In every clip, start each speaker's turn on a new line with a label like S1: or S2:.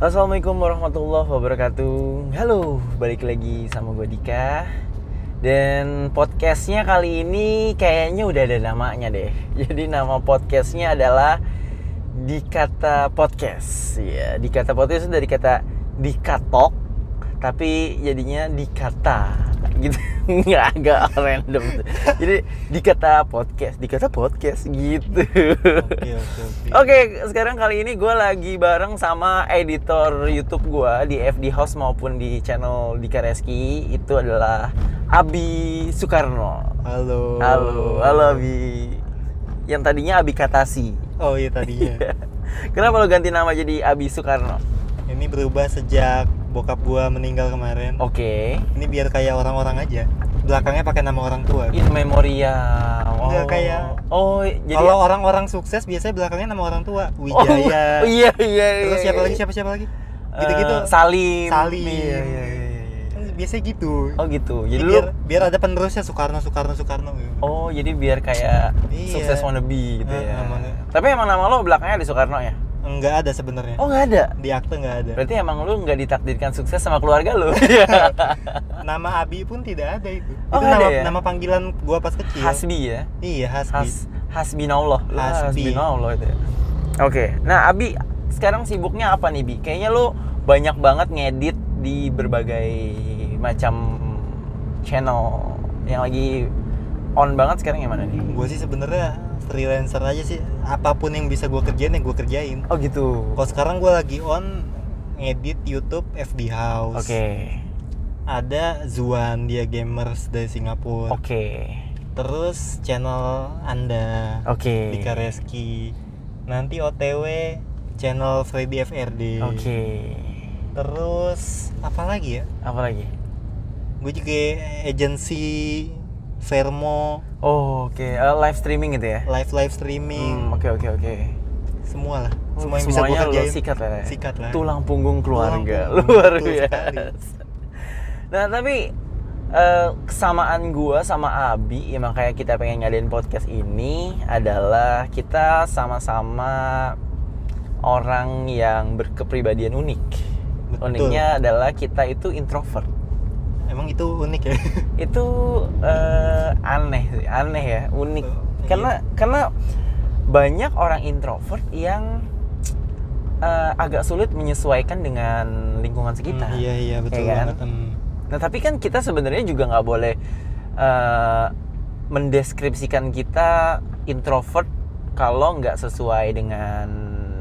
S1: Assalamualaikum warahmatullahi wabarakatuh Halo, balik lagi sama gue Dika Dan podcastnya kali ini kayaknya udah ada namanya deh Jadi nama podcastnya adalah Dikata Podcast ya, Dikata Podcast itu dari kata Dikatok Tapi jadinya Dikata gitu nggak agak random jadi dikata podcast dikata podcast gitu
S2: Oke oke oke.
S1: Oke, sekarang kali ini gue lagi bareng sama editor YouTube gue di FD House maupun di channel Dika Reski itu adalah Abi
S2: Oh.
S1: Soekarno.
S2: Halo.
S1: Halo, halo Abi. Yang tadinya Abi Katasi.
S2: Oh iya tadinya.
S1: Kenapa lo ganti nama jadi Abi Soekarno?
S2: Ini berubah sejak bokap gua meninggal kemarin.
S1: Oke.
S2: Ini biar kayak orang-orang aja. Belakangnya pakai nama orang tua.
S1: In memoria.
S2: Nggak kayak-
S1: Oh, Iya, jadi
S2: Kalau orang-orang sukses biasanya belakangnya nama orang tua. Wijaya.
S1: Oh, iya, iya, iya.
S2: Terus siapa
S1: iya.
S2: lagi? Siapa siapa lagi?
S1: Eh,
S2: Gitu-gitu.
S1: Salim.
S2: Salim.
S1: Iya, iya, iya, iya.
S2: Kan biasanya gitu.
S1: Oh gitu.
S2: Jadi
S1: Jadi
S2: biar,
S1: lu
S2: biar ada penerusnya Soekarno Soekarno Soekarno. gitu.
S1: Oh, jadi biar kayak
S2: Iya.
S1: sukses wannabe gitu
S2: Ah,
S1: ya.
S2: namanya.
S1: Tapi emang nama lo belakangnya ada Soekarno ya?
S2: Enggak ada sebenarnya.
S1: Oh, nggak ada.
S2: Di akte enggak ada.
S1: Berarti emang lu nggak ditakdirkan sukses sama keluarga lu. Iya.
S2: Nama Abi pun tidak ada itu.
S1: Oh,
S2: itu
S1: nggak ada
S2: nama
S1: ya?
S2: nama panggilan gua pas kecil.
S1: Hasbi ya.
S2: Iya, Hasbi.
S1: Has Hasbinallah. Lu
S2: Hasbi.
S1: Hasbinallah itu ya. Oke. Nah, Abi sekarang sibuknya apa nih, Bi? Kayaknya lu banyak banget ngedit di berbagai macam channel yang lagi on banget sekarang yang mana nih?
S2: gue sih sebenarnya freelancer aja sih apapun yang bisa gue kerjain yang gue kerjain
S1: Oh gitu.
S2: kalau sekarang gue lagi on ngedit YouTube
S1: Oke.
S2: FB House ada Zuan dia gamers dari Singapura
S1: Oke.
S2: terus channel anda
S1: Oke.
S2: Dika Reski nanti OTW channel Freddy FRD
S1: Oke.
S2: terus apa lagi ya
S1: Apa lagi?
S2: gue juga agency Vermo
S1: Oh, oke. Eh, live streaming gitu ya.
S2: live live streaming
S1: Hmm, Oke, oke, oke.
S2: semua lah
S1: Oh,
S2: semua yang bisa gue
S1: semuanya lo
S2: kerjain
S1: sikat lah ya?
S2: sikat lah
S1: Tulang punggung keluarga.
S2: Tulang punggung,
S1: Luar
S2: betul
S1: biasa.
S2: sekali.
S1: Nah, tapi eh, kesamaan gua sama Abi, ya makanya kita pengen ngadain podcast ini adalah kita sama-sama orang yang berkepribadian unik.
S2: Betul.
S1: Uniknya adalah kita itu introvert.
S2: Emang itu unik ya?
S1: itu eh, aneh sih, aneh ya unik
S2: Betul, Iya.
S1: karena karena banyak orang introvert yang eh, agak sulit menyesuaikan dengan lingkungan sekitar
S2: Hmm, iya iya betul
S1: ya kan?
S2: banget. Hmm.
S1: nah tapi kan kita sebenarnya juga nggak boleh eh, mendeskripsikan kita introvert kalau nggak sesuai dengan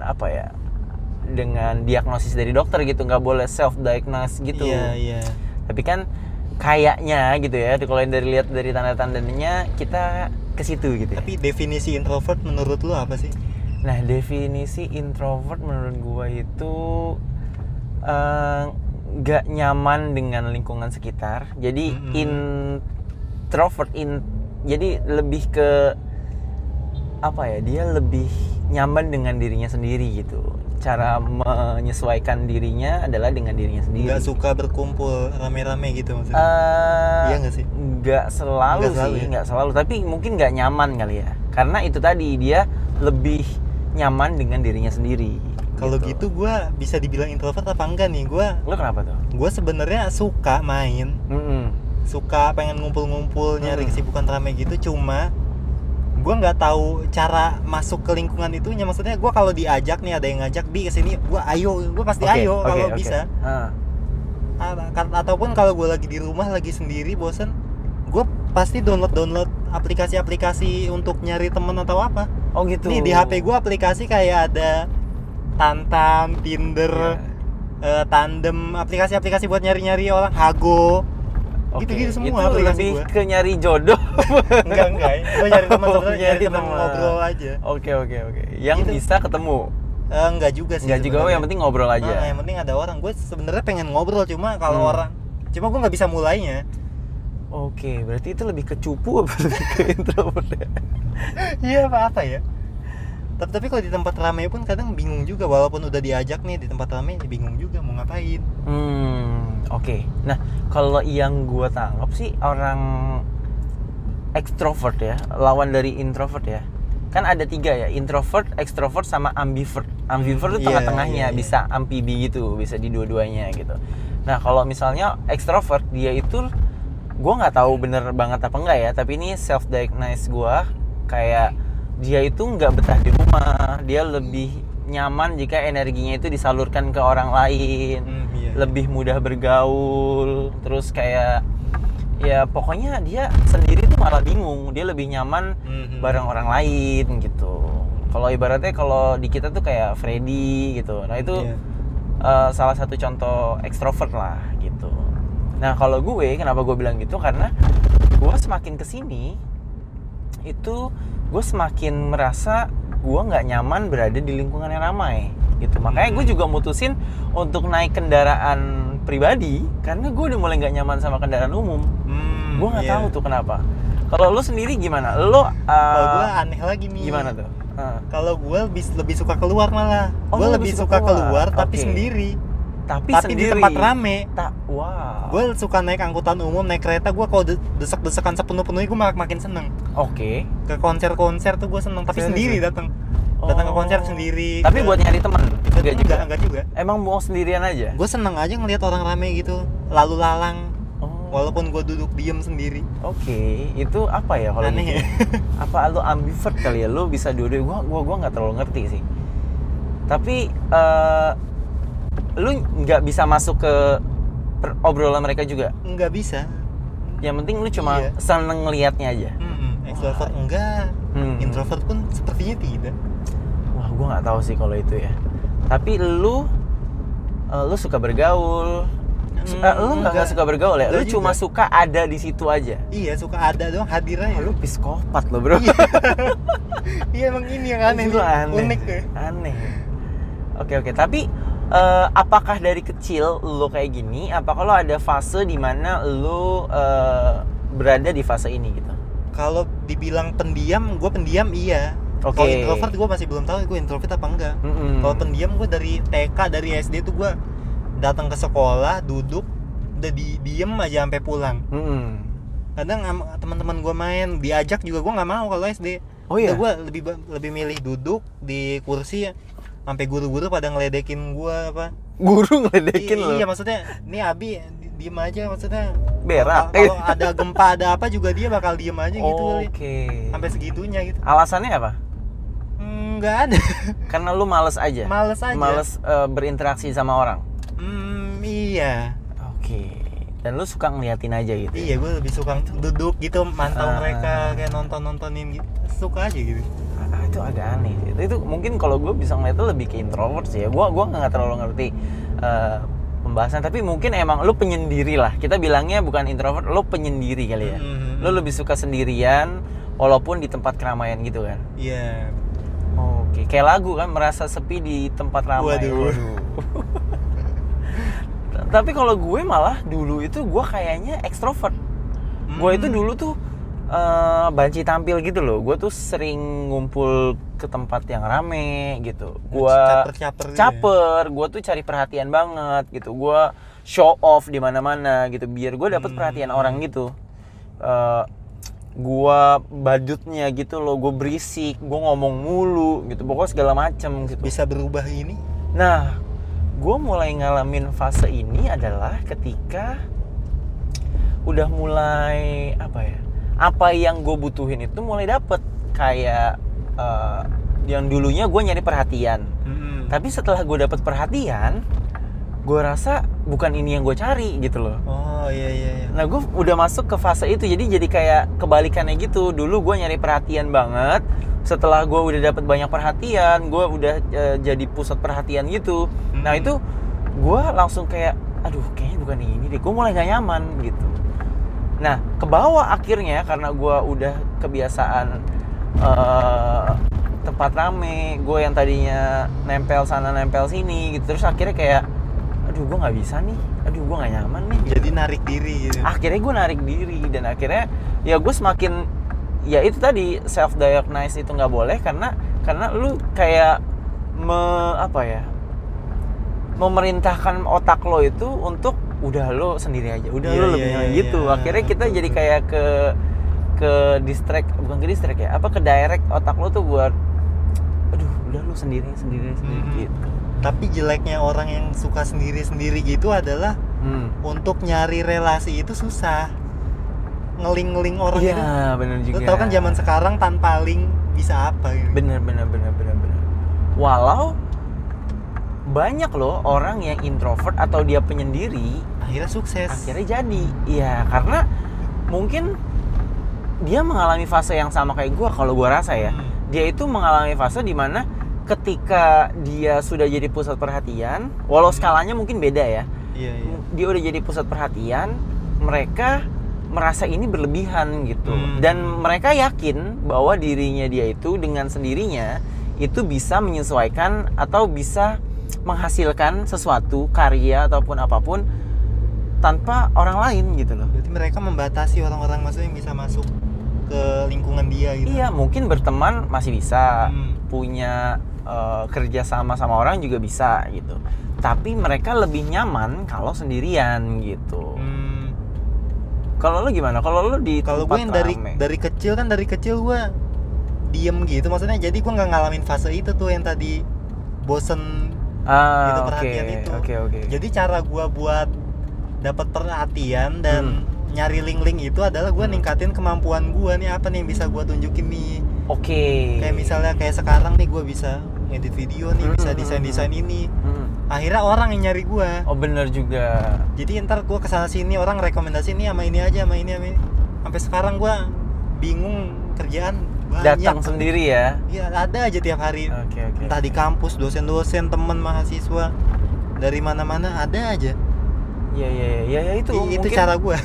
S1: apa ya dengan diagnosis dari dokter gitu nggak boleh self diagnose gitu
S2: Iya iya.
S1: tapi kan kayaknya gitu ya kalau yang dari lihat dari tanda-tandanya kita ke situ gitu ya.
S2: Tapi definisi introvert menurut lu apa sih?
S1: nah definisi introvert menurut gua itu eh, nggak nyaman dengan lingkungan sekitar jadi
S2: Mm-mm.
S1: introvert in jadi lebih ke apa ya dia lebih nyaman dengan dirinya sendiri gitu cara menyesuaikan dirinya adalah dengan dirinya sendiri
S2: Gak suka berkumpul rame-rame gitu maksudnya?
S1: Eh,
S2: Iya nggak sih?
S1: nggak selalu
S2: Nggak selalu
S1: sih,
S2: ya?
S1: nggak selalu. Tapi mungkin nggak nyaman kali ya, karena itu tadi dia lebih nyaman dengan dirinya sendiri.
S2: Kalau gitu, gua bisa dibilang introvert apa enggak nih? Gua
S1: lo kenapa tuh?
S2: gua sebenarnya suka main,
S1: Mm-mm.
S2: suka pengen ngumpul-ngumpul, nyari
S1: Hmm.
S2: kesibukan rame gitu. Cuma gua nggak tahu cara masuk ke lingkungan itunya. Maksudnya gua kalau diajak nih ada yang ngajak bi kesini, gua ayo, gua pasti
S1: Oke,
S2: ayo
S1: oke,
S2: kalau
S1: oke.
S2: bisa.
S1: Ah,
S2: A- ka- kan, ataupun kalau gue lagi di rumah lagi sendiri bosen gue pasti download download aplikasi-aplikasi untuk nyari temen atau apa
S1: Oh gitu.
S2: nih di HP gue aplikasi kayak ada
S1: Iya.
S2: Tantan, Tinder, eh, Tandem, aplikasi-aplikasi buat nyari-nyari orang, Hago,
S1: Oke.
S2: gitu-gitu semua
S1: Itu
S2: aplikasi
S1: lebih
S2: gua.
S1: ke nyari jodoh.
S2: enggak enggak, gue nyari teman
S1: Oh,
S2: sebenarnya nyari
S1: nyari
S2: teman
S1: teman.
S2: ngobrol aja,
S1: Oke oke oke. Yang
S2: Gitu.
S1: bisa ketemu.
S2: Eh, enggak juga sih.
S1: Nggak juga,
S2: sebenarnya.
S1: yang penting ngobrol aja.
S2: Ah, yang penting ada orang, gue sebenarnya pengen ngobrol cuma kalau
S1: Hmm.
S2: orang, cuma gue nggak bisa mulainya.
S1: Oke, berarti itu lebih ke cupu apa lebih ke introvert? ya?
S2: Iya apa apa ya. Tapi tapi kalau di tempat ramai pun kadang bingung juga walaupun udah diajak nih di tempat ramai ya bingung juga mau ngapain.
S1: Hmm, oke. Nah, kalau yang gua tangkap sih orang ekstrovert ya, lawan dari introvert ya. Kan ada tiga ya, introvert, ekstrovert, sama ambivert. Ambiver tuh
S2: Iya,
S1: tengah-tengahnya
S2: iya, iya.
S1: bisa ambibi gitu, bisa di dua-duanya gitu. Nah, kalau misalnya ekstrovert dia itu gue nggak tahu bener banget apa enggak ya, tapi ini self diagnose gue kayak dia itu nggak betah di rumah, dia lebih nyaman jika energinya itu disalurkan ke orang lain
S2: Hmm, iya.
S1: lebih mudah bergaul terus kayak ya pokoknya dia sendiri tuh malah bingung dia lebih nyaman
S2: Mhm.
S1: bareng orang lain gitu kalau ibaratnya kalau di kita tuh kayak Freddy gitu nah itu
S2: Iya.
S1: eh, salah satu contoh ekstrovert lah gitu nah kalau gue kenapa gue bilang gitu karena gue semakin kesini itu gue semakin merasa gue nggak nyaman berada di lingkungan yang ramai gitu makanya
S2: Hmm.
S1: gue juga mutusin untuk naik kendaraan pribadi karena gue udah mulai nggak nyaman sama kendaraan umum
S2: Hmm,
S1: gue nggak
S2: iya.
S1: tahu tuh kenapa kalau lu sendiri gimana lo uh,
S2: Kalau gue aneh lagi nih.
S1: gimana tuh Uh,
S2: Kalau gue bis- lebih suka keluar malah.
S1: Oh,
S2: gue
S1: lu
S2: lebih suka keluar, tapi
S1: Oke.
S2: sendiri.
S1: tapi,
S2: Tapi
S1: sendiri
S2: di tempat rame.
S1: tak wow
S2: Gue suka naik angkutan umum, naik kereta. Gue kalau de- desek-desekan sepenuh-penuhnya gue malah makin seneng.
S1: oke
S2: Ke konser-konser tuh gue seneng, tapi
S1: Serius,
S2: sendiri
S1: ya?
S2: datang. Datang ke
S1: Oh.
S2: konser sendiri.
S1: tapi
S2: Ke-
S1: buat nyari teman
S2: ke-
S1: enggak juga
S2: enggak, enggak juga.
S1: emang mau sendirian aja
S2: Gue seneng aja ngelihat orang rame gitu, lalu lalang.
S1: oh, oke
S2: Walaupun gue duduk diem sendiri.
S1: itu apa ya kalau
S2: Aneh
S1: gitu?
S2: ya?
S1: apa lu ambivert kali ya lu bisa dua-dua gua gua gua nggak terlalu ngerti sih tapi eh, lu nggak bisa masuk ke per- obrolan mereka juga
S2: Enggak bisa.
S1: yang penting lu cuma
S2: Iya.
S1: seneng ngeliatnya aja
S2: Hmm, extrovert
S1: Wah.
S2: enggak,
S1: Hmm.
S2: introvert pun sepertinya tidak.
S1: wah gua nggak tahu sih kalau itu ya tapi lu eh, lu suka bergaul Su- eh, lu nggak nggak suka bergaul ya lu
S2: Nggak
S1: cuma
S2: juga.
S1: suka ada di situ aja
S2: Iya suka ada doang hadir aja.
S1: Wah, Eh, lu psikopat lo bro
S2: Iya. Iya emang ini yang aneh
S1: Itu
S2: nih.
S1: aneh.
S2: Unik tuh.
S1: Aneh. Oke oke, tapi eh, apakah dari kecil lo kayak gini? Apakah lo ada fase di mana lo eh, berada di fase ini gitu?
S2: Kalau dibilang pendiam, gue pendiam iya.
S1: Oke.
S2: Kalau introvert gue masih belum tahu gue introvert apa enggak.
S1: Mm-mm.
S2: Kalau pendiam gue dari TK dari SD tuh gue datang ke sekolah duduk udah di diem aja sampai pulang.
S1: Mm-mm.
S2: Kadang sama teman-teman gue main diajak juga gue nggak mau kalau SD.
S1: Oh iya.
S2: gue lebih ba- lebih milih duduk di kursi sampai guru-guru pada ngeledekin gue apa
S1: Guru ngeledekin
S2: I-
S1: lo.
S2: Iya maksudnya nih Abi di- diem aja maksudnya.
S1: Berak.
S2: Kalau- Kalau ada gempa ada apa juga dia bakal diem aja gitu kali.
S1: Oke.
S2: Sampai segitunya gitu.
S1: Alasannya apa?
S2: Hmm, Nggak ada.
S1: Karena lo males aja.
S2: Males aja.
S1: Males eh, berinteraksi sama orang.
S2: Hmm, iya.
S1: Oke. Dan lo suka ngeliatin aja gitu.
S2: Iya gue lebih suka duduk gitu mantau
S1: Ah.
S2: mereka kayak nonton-nontonin gitu. Suka aja gitu.
S1: Ah, itu agak aneh sih. itu, itu mungkin kalau gue bisa ngeliatnya lebih ke introvert sih ya gue gua nggak terlalu ngerti eh, pembahasan tapi mungkin emang lu penyendiri lah kita bilangnya bukan introvert lu penyendiri kali ya
S2: Mhm.
S1: lu lebih suka sendirian walaupun di tempat keramaian gitu kan
S2: Iya.
S1: oke kayak lagu kan merasa sepi di tempat ramai
S2: Waduh.
S1: T- tapi kalau gue malah dulu itu gue kayaknya ekstrovert gue
S2: Hmm.
S1: itu dulu tuh eh, banci tampil gitu loh gue tuh sering ngumpul ke tempat yang rame gitu gue
S2: Caper-caper gitu ya?
S1: caper gue tuh cari perhatian banget gitu gue show off di mana mana gitu biar gue dapet perhatian
S2: Hmm.
S1: orang gitu Eh gue badutnya gitu loh gue berisik gue ngomong mulu gitu pokoknya segala macem gitu
S2: Bisa berubah ini.
S1: Nah, gue mulai ngalamin fase ini adalah ketika udah mulai apa ya? Apa yang gue butuhin itu mulai dapet kayak eh, yang dulunya gue nyari perhatian,
S2: Mm-mm.
S1: tapi setelah gue dapet perhatian, gue rasa bukan ini yang gue cari gitu loh.
S2: Oh iya iya iya.
S1: Nah gue udah masuk ke fase itu jadi jadi kayak kebalikannya gitu. Dulu gue nyari perhatian banget. Setelah gue udah dapet banyak perhatian, gue udah eh, jadi pusat perhatian gitu. Nah
S2: Hmm.
S1: itu gue langsung kayak, aduh kayaknya bukan ini deh. Gue mulai gak nyaman gitu. Nah ke bawah akhirnya karena gue udah kebiasaan eh, tempat rame. Gue yang tadinya nempel sana nempel sini gitu. Terus akhirnya kayak, aduh gue nggak bisa nih. Aduh gue nggak nyaman nih
S2: Jadi narik diri gitu.
S1: akhirnya gue narik diri dan akhirnya ya gue semakin ya itu tadi self diagnose itu nggak boleh karena karena lu kayak me, apa ya memerintahkan otak lo itu untuk udah lo sendiri aja udah
S2: Iya,
S1: lo
S2: iya,
S1: lebih
S2: iya,
S1: gitu
S2: iya.
S1: akhirnya kita
S2: Betul,
S1: jadi
S2: betul.
S1: kayak ke ke distract bukan ke distract ya apa ke direct otak lo tuh buat aduh udah lu sendiri sendiri sendiri
S2: Mhm.
S1: gitu
S2: Tapi jeleknya orang yang suka sendiri-sendiri gitu adalah
S1: Hmm.
S2: untuk nyari relasi itu susah. Ngeling-ngeling orang
S1: iya
S2: itu.
S1: bener juga
S2: Lu tau kan zaman sekarang tanpa link bisa apa gitu.
S1: bener bener bener bener bener walau banyak loh orang yang introvert atau dia penyendiri
S2: Akhirnya sukses.
S1: akhirnya jadi iya karena mungkin dia mengalami fase yang sama kayak gua kalau gua rasa ya
S2: Hmm.
S1: dia itu mengalami fase di mana ketika dia sudah jadi pusat perhatian walau skalanya mungkin beda ya
S2: Iya, iya.
S1: dia udah jadi pusat perhatian mereka merasa ini berlebihan gitu
S2: Hmm.
S1: dan mereka yakin bahwa dirinya dia itu dengan sendirinya itu bisa menyesuaikan atau bisa menghasilkan sesuatu karya ataupun apapun tanpa orang lain gitu loh
S2: Berarti mereka membatasi orang-orang maksudnya yang bisa masuk ke lingkungan dia gitu.
S1: iya mungkin berteman masih bisa
S2: Hmm.
S1: punya eh, kerja sama sama orang juga bisa gitu tapi mereka lebih nyaman kalau sendirian gitu
S2: Hmm.
S1: Kalau lu gimana? Kalau lu di
S2: Kalau
S1: tempat
S2: gue yang dari
S1: rame.
S2: dari kecil kan dari kecil gue diem gitu maksudnya jadi gue nggak ngalamin fase itu tuh yang tadi bosen gitu
S1: ah, oke,
S2: perhatian itu.
S1: Oke, oke.
S2: jadi cara gue buat dapat perhatian dan nyari link-link itu adalah gue
S1: Hmm.
S2: ningkatin kemampuan gue nih apa nih yang bisa gue tunjukin nih
S1: Oke.
S2: kayak misalnya kayak sekarang nih gue bisa ngedit video nih
S1: Hmm,
S2: bisa
S1: hmm,
S2: desain desain ini
S1: Hmm.
S2: akhirnya orang yang nyari gue
S1: Oh, bener juga.
S2: jadi ntar gue kesana sini orang rekomendasi ini sama ini aja sama ini sama ini sampai sekarang gue bingung kerjaan banyak
S1: Datang sendiri ya.
S2: Iya ada aja tiap hari
S1: Oke, oke.
S2: entah di kampus dosen-dosen teman mahasiswa dari mana-mana ada aja
S1: Iya, iya, iya. Ya, ya, itu
S2: I- itu
S1: mungkin
S2: cara gue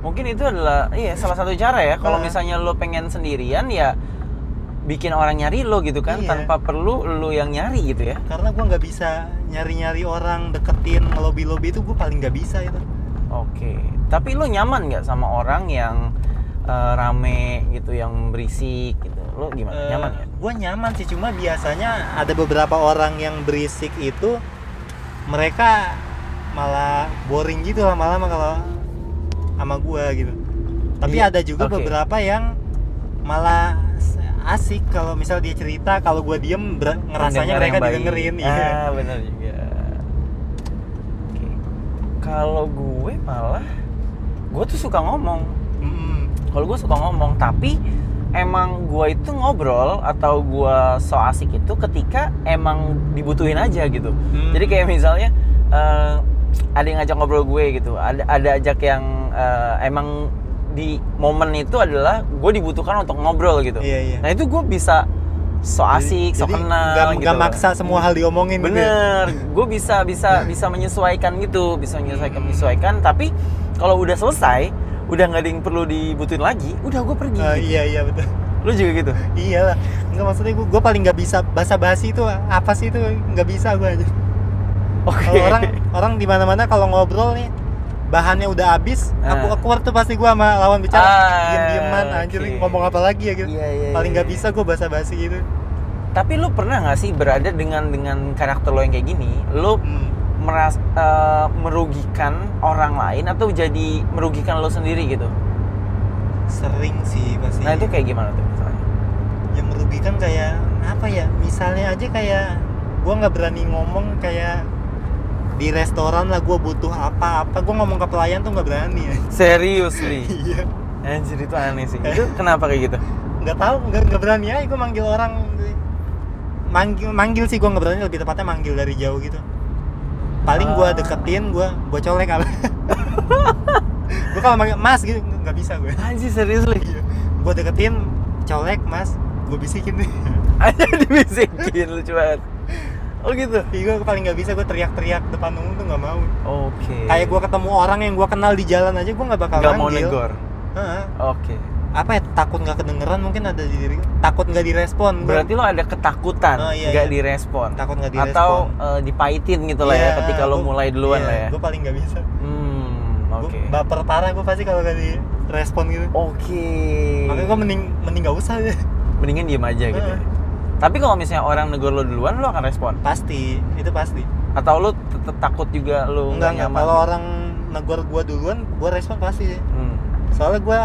S1: mungkin itu adalah iya salah satu cara ya. Kalau
S2: Ah.
S1: misalnya lu pengen sendirian ya bikin orang nyari lo gitu kan
S2: Iya.
S1: tanpa perlu lu yang nyari gitu ya.
S2: karena gue nggak bisa nyari-nyari orang deketin ngelobi lobi itu gue paling nggak bisa itu
S1: Oke. Tapi lu nyaman nggak sama orang yang eh, rame gitu, yang berisik gitu? Lu gimana? nyaman ya?
S2: gue Eh, nyaman sih cuma biasanya ada beberapa orang yang berisik itu mereka malah boring gitu lama-lama kalau sama gue gitu tapi
S1: Iya,
S2: ada juga
S1: oke.
S2: beberapa yang malah asik kalau misal dia cerita kalau gue diem ber-
S1: Pendengar
S2: ngerasanya mereka
S1: yang baik.
S2: didengerin
S1: ah,
S2: iya.
S1: benar juga Oke. kalau gue malah gue tuh suka ngomong
S2: Mm-mm.
S1: kalau gue suka ngomong tapi emang gue itu ngobrol atau gue so asik itu ketika emang dibutuhin aja gitu
S2: Hmm.
S1: jadi kayak misalnya eh, ada yang ngajak ngobrol gue gitu ada ada ajak yang eh, emang di momen itu adalah gue dibutuhkan untuk ngobrol gitu
S2: iya iya
S1: nah itu gue bisa so asik so
S2: Jadi
S1: kenal
S2: nggak-
S1: gitu
S2: nggak
S1: loh.
S2: maksa semua hal diomongin gitu ya.
S1: Bener, gue bisa
S2: Nah.
S1: bisa bisa menyesuaikan gitu, bisa
S2: Hmm.
S1: menyesuaikan menyesuaikan. Tapi kalau udah selesai, udah nggak ada yang perlu dibutuhin lagi, udah gue pergi.
S2: Eh,
S1: gitu.
S2: iya iya betul
S1: Lu juga gitu.
S2: iyalah nggak maksudnya gue gue paling nggak bisa bahasa basi itu apa sih itu nggak bisa gue aja
S1: Oke.
S2: kalau orang orang di mana mana kalau ngobrol nih bahannya udah habis aku
S1: Ah.
S2: awkward tuh pasti gua sama lawan bicara
S1: Ah,
S2: diem dieman anjir
S1: oke.
S2: ngomong apa lagi ya gitu
S1: Iya, iya,
S2: paling
S1: iya,
S2: nggak
S1: iya.
S2: bisa gua basa basi gitu
S1: Tapi lu pernah nggak sih berada dengan dengan karakter lo yang kayak gini? Lu
S2: Hmm.
S1: meras eh, merugikan orang lain atau jadi merugikan lo sendiri gitu?
S2: sering sih pasti
S1: Nah itu kayak gimana tuh misalnya?
S2: yang merugikan kayak apa ya misalnya aja kayak gua nggak berani ngomong kayak di restoran lah gua butuh apa-apa gua ngomong ke pelayan tuh nggak berani ya
S1: Seriously,
S2: iya
S1: anjir itu aneh sih. Itu kenapa kayak gitu?
S2: nggak tahu nggak nggak berani aja gue manggil orang manggil manggil sih gue nggak berani lebih tepatnya manggil dari jauh gitu paling gue
S1: Ah.
S2: deketin gue gue colek apa gue kalau manggil mas gitu nggak bisa gue
S1: Anjir seriously,
S2: gue deketin colek mas gue bisikin nih
S1: aja dibisikin lucu banget. Oh gitu.
S2: gue Iya, paling nggak bisa gue teriak-teriak depan umum tuh nggak mau
S1: Oke.
S2: kayak gue ketemu orang yang gue kenal di jalan aja gue nggak bakal
S1: nggak mau
S2: manggil
S1: negor.
S2: Heeh.
S1: Oke.
S2: apa ya takut nggak kedengeran mungkin ada di diri takut nggak direspon gua.
S1: Berarti lo ada ketakutan
S2: Oh, iya,
S1: nggak
S2: iya.
S1: direspon
S2: takut nggak direspon
S1: atau eh, dipaitin gitu lah
S2: Iya,
S1: ya ketika lo mulai duluan lah ya.
S2: Gue iya, paling nggak bisa.
S1: Hmm,
S2: Gua
S1: oke. Hmm.
S2: baper parah gue pasti kalau nggak direspon gitu.
S1: Oke.
S2: Makanya gue mending mending nggak usah deh.
S1: mendingan diem aja Ya, gitu. ya.
S2: Heeh.
S1: Tapi kalau misalnya orang negor lo duluan lo akan respon
S2: Pasti, itu pasti.
S1: atau lo tetap takut juga lo
S2: Enggak
S1: nggak
S2: enggak.
S1: nyaman.
S2: Kalau orang negor gue duluan, gue respon pasti.
S1: Hmm.
S2: Soalnya gue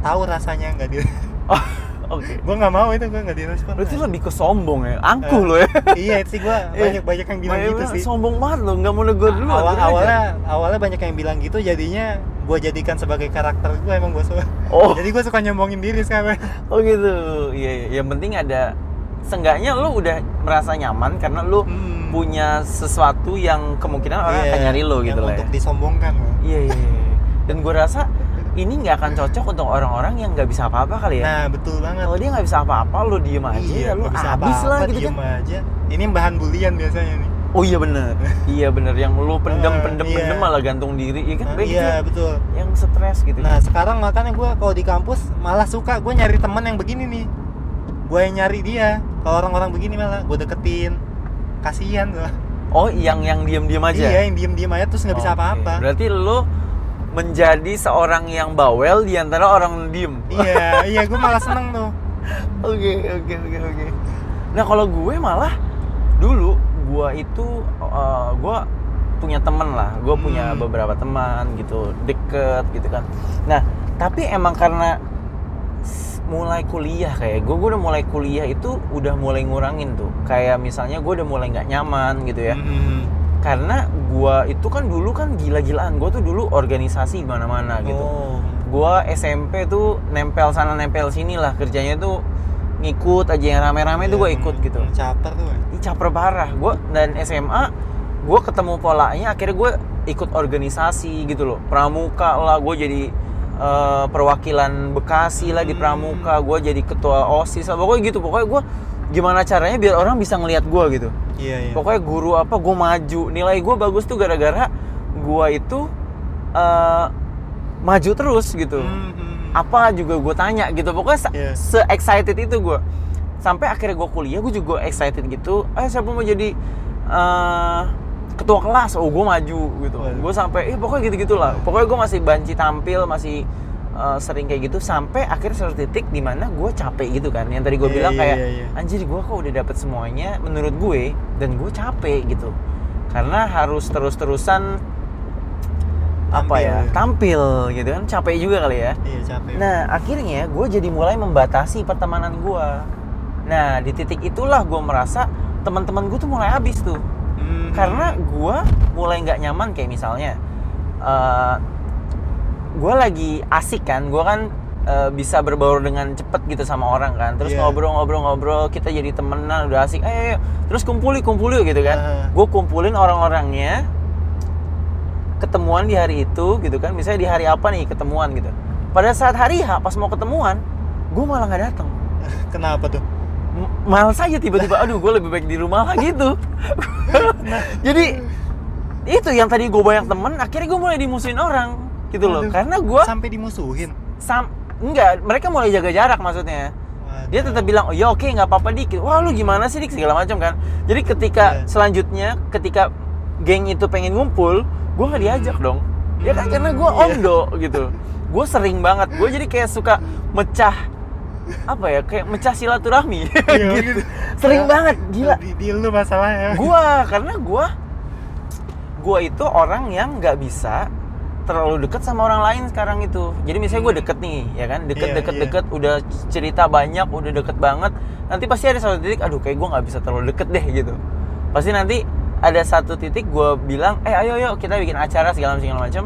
S2: tahu rasanya nggak di.
S1: Oh, Oke.
S2: gue nggak mau itu gue nggak direspon
S1: Berarti lebih ke sombong ya, angkuh
S2: Eh,
S1: lo ya.
S2: iya itu sih gue banyak banyak yang bilang
S1: Banyak
S2: gitu
S1: banget,
S2: sih Nah,
S1: Sombong banget lo, nggak mau negor dulu.
S2: awal awalnya awalnya banyak yang bilang gitu jadinya gue jadikan sebagai karakter gue emang gue suka
S1: Oh.
S2: jadi gue suka nyombongin diri sekarang
S1: Oh gitu. Iya, iya. yang penting ada seenggaknya lu udah merasa nyaman karena lu
S2: Hmm.
S1: punya sesuatu yang kemungkinan orang
S2: Iya,
S1: akan nyari lu
S2: yang
S1: gitu lah. ya.
S2: untuk disombongkan loh.
S1: Iya, iya, iya. Dan gue rasa ini nggak akan cocok untuk orang-orang yang nggak bisa apa-apa kali ya.
S2: nah betul banget
S1: Kalau dia nggak bisa apa-apa, lu diem aja ya, lu
S2: nggak bisa
S1: habis lah
S2: apa-apa,
S1: gitu kan.
S2: diem aja ini bahan bulian biasanya nih
S1: Oh iya bener, iya bener yang lu pendem
S2: Ah,
S1: pendem
S2: iya.
S1: pendem malah gantung diri, iya kan?
S2: Nah,
S1: Kayak gitu
S2: iya
S1: ya.
S2: betul
S1: Yang stres gitu.
S2: nah sekarang makanya gue kalau di kampus malah suka gue nyari teman yang begini nih gue yang nyari dia kalau orang-orang begini malah gue deketin kasihan loh
S1: Oh, yang yang diem-diem aja. Oh,
S2: iya yang diem-diem aja terus nggak bisa
S1: Oke.
S2: apa-apa
S1: Berarti lu menjadi seorang yang bawel di antara orang diem.
S2: iya iya gue malah seneng tuh
S1: Oke, oke, oke, oke. Nah, kalau gue malah dulu gue itu eh, gue punya temen lah, gue punya
S2: Hmm.
S1: beberapa teman gitu, deket gitu kan. Nah, tapi emang karena s- mulai kuliah kayak gue, gue udah mulai kuliah itu udah mulai ngurangin tuh. Kayak misalnya gue udah mulai nggak nyaman gitu ya.
S2: Mm-mm.
S1: Karena gue itu kan dulu kan gila-gilaan, gue tuh dulu organisasi di mana-mana gitu
S2: oh
S1: gua SMP tuh nempel sana nempel sini lah kerjanya tuh ngikut aja yang rame-rame tuh gua
S2: Iya,
S1: ikut gitu
S2: emang caper tuh eh.
S1: ini caper parah gua dan SMA gua ketemu polanya akhirnya gua ikut organisasi gitu loh pramuka lah gua jadi eh, perwakilan Bekasi lah di
S2: Hmm.
S1: pramuka gua jadi ketua osis lah pokoknya gitu pokoknya gua gimana caranya biar orang bisa ngelihat gua gitu
S2: iya iya
S1: pokoknya guru apa gue maju nilai gue bagus tuh gara-gara gue itu eh, maju terus gitu
S2: Hmm. Mm-mm.
S1: apa juga gue tanya gitu pokoknya se,
S2: Iya.
S1: excited itu gue sampai akhirnya gue kuliah gue juga excited gitu eh siapa mau jadi eh, ketua kelas oh gue maju gitu
S2: Waduh.
S1: gue sampai eh pokoknya gitu gitulah
S2: Iya.
S1: pokoknya gue masih banci tampil masih eh, sering kayak gitu sampai akhirnya satu titik di mana gue capek gitu kan yang tadi gue
S2: Iya,
S1: bilang
S2: iya,
S1: kayak
S2: iya, iya.
S1: anjir gue kok udah dapet semuanya menurut gue dan gue capek gitu karena harus terus-terusan apa
S2: Tampil,
S1: ya
S2: iya.
S1: tampil gitu kan capek juga kali ya
S2: iya capek
S1: Nah, akhirnya gue jadi mulai membatasi pertemanan gue. Nah, di titik itulah gue merasa teman-teman gue tuh mulai habis tuh.
S2: Mm-mm.
S1: Karena gue mulai nggak nyaman kayak misalnya, gue lagi asik kan, gue kan eh, bisa berbaur dengan cepet gitu sama orang kan. Terus
S2: Iya.
S1: ngobrol-ngobrol-ngobrol, kita jadi temenan udah asik. Eh, ayo, terus kumpuli kumpuli gitu kan.
S2: Heeh.
S1: Gue kumpulin orang-orangnya, ketemuan di hari itu gitu kan misalnya di hari apa nih ketemuan gitu pada saat hari H pas mau ketemuan gue malah nggak datang
S2: kenapa tuh
S1: M- males aja tiba-tiba aduh gue lebih baik di rumah lah gitu
S2: Nah.
S1: jadi itu yang tadi gue banyak temen akhirnya gue mulai dimusuhin orang gitu loh
S2: Aduh.
S1: karena gue
S2: sampai dimusuhin
S1: sam enggak mereka mulai jaga jarak maksudnya
S2: Waduh.
S1: dia tetap bilang oh, ya oke nggak apa-apa dikit wah lu gimana sih dik segala macam kan jadi ketika
S2: Iya.
S1: selanjutnya ketika geng itu pengen ngumpul gue nggak diajak dong ya kan
S2: Hmm,
S1: karena gue
S2: iya.
S1: ondo gitu gue sering banget gue jadi kayak suka mecah apa ya kayak mecah silaturahmi
S2: Iya,
S1: gitu
S2: gitu.
S1: sering
S2: Ya,
S1: banget gila
S2: di, di lu masalahnya
S1: gue karena gue gue itu orang yang nggak bisa terlalu deket sama orang lain sekarang itu jadi misalnya gue deket nih ya kan deket
S2: Hmm. Iya,
S1: deket
S2: iya.
S1: deket udah cerita banyak udah deket banget nanti pasti ada satu titik aduh kayak gue nggak bisa terlalu deket deh gitu pasti nanti ada satu titik gue bilang eh ayo ayo kita bikin acara segala macam segala macam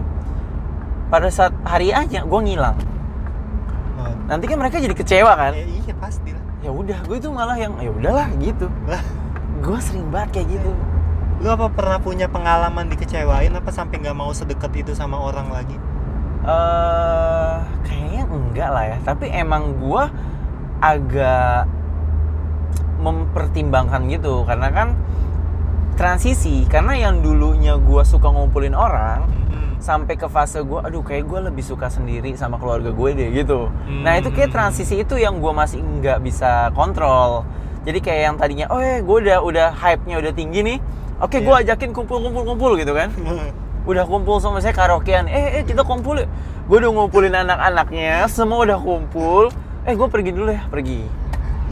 S1: pada saat hari aja gue ngilang
S2: Waduh.
S1: nanti kan mereka jadi kecewa kan
S2: Ya, iya pasti lah.
S1: ya udah gue itu malah yang ya udahlah gitu
S2: Lah,
S1: gue sering banget kayak gitu
S2: lu apa pernah punya pengalaman dikecewain apa sampai nggak mau sedekat itu sama orang lagi?
S1: eh kayaknya enggak lah ya. Tapi emang gua agak mempertimbangkan gitu karena kan transisi. Karena yang dulunya gua suka ngumpulin orang sampai ke fase gua aduh kayak gua lebih suka sendiri sama keluarga gue deh gitu. Nah itu kayak transisi itu yang gua masih nggak bisa kontrol. Jadi kayak yang tadinya, oh ya gue udah udah hype-nya udah tinggi nih. Oke,
S2: Iya.
S1: gua ajakin kumpul-kumpul-kumpul gitu kan udah kumpul sama saya karaokean eh eh kita kumpul yuk gue udah ngumpulin anak-anaknya semua udah kumpul eh gue pergi dulu ya pergi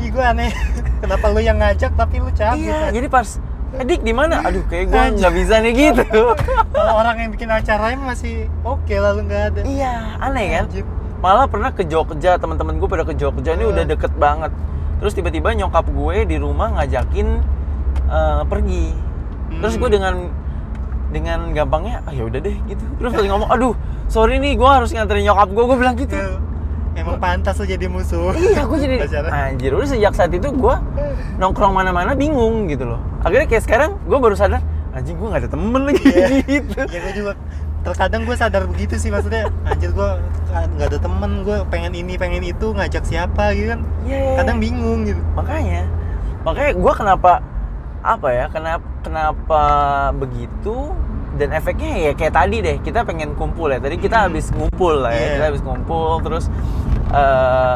S2: Ih, gua aneh. Kenapa lu yang ngajak tapi lu cabut?
S1: iya
S2: kan?
S1: jadi pas adik di mana aduh kayak gue
S2: Anjing.
S1: nggak bisa nih gitu
S2: Kalau orang yang bikin acaranya masih oke lalu nggak ada.
S1: iya aneh kan
S2: Anjir.
S1: malah pernah ke Jogja teman-teman gue pada ke Jogja ini
S2: Hmm.
S1: udah deket banget terus tiba-tiba nyokap gue di rumah ngajakin eh, pergi terus
S2: Hmm.
S1: gue dengan dengan gampangnya ah ya udah deh gitu terus pas ngomong aduh sorry nih gue harus nganterin nyokap gue gue bilang gitu
S2: Ya, emang pantas lo jadi musuh
S1: iya gue jadi
S2: Pacaran.
S1: anjir udah sejak saat itu gue nongkrong mana-mana bingung gitu loh akhirnya kayak sekarang gue baru sadar anjing gue gak ada temen lagi gitu
S2: ya gue juga terkadang gue sadar begitu sih maksudnya anjir gue nggak ada temen gue pengen ini pengen itu ngajak siapa gitu kan
S1: Yeay.
S2: kadang bingung gitu
S1: makanya makanya gue kenapa apa ya kenapa kenapa begitu dan efeknya ya kayak tadi deh kita pengen kumpul ya tadi kita
S2: Hmm.
S1: habis ngumpul lah ya
S2: Iya.
S1: kita habis ngumpul terus eh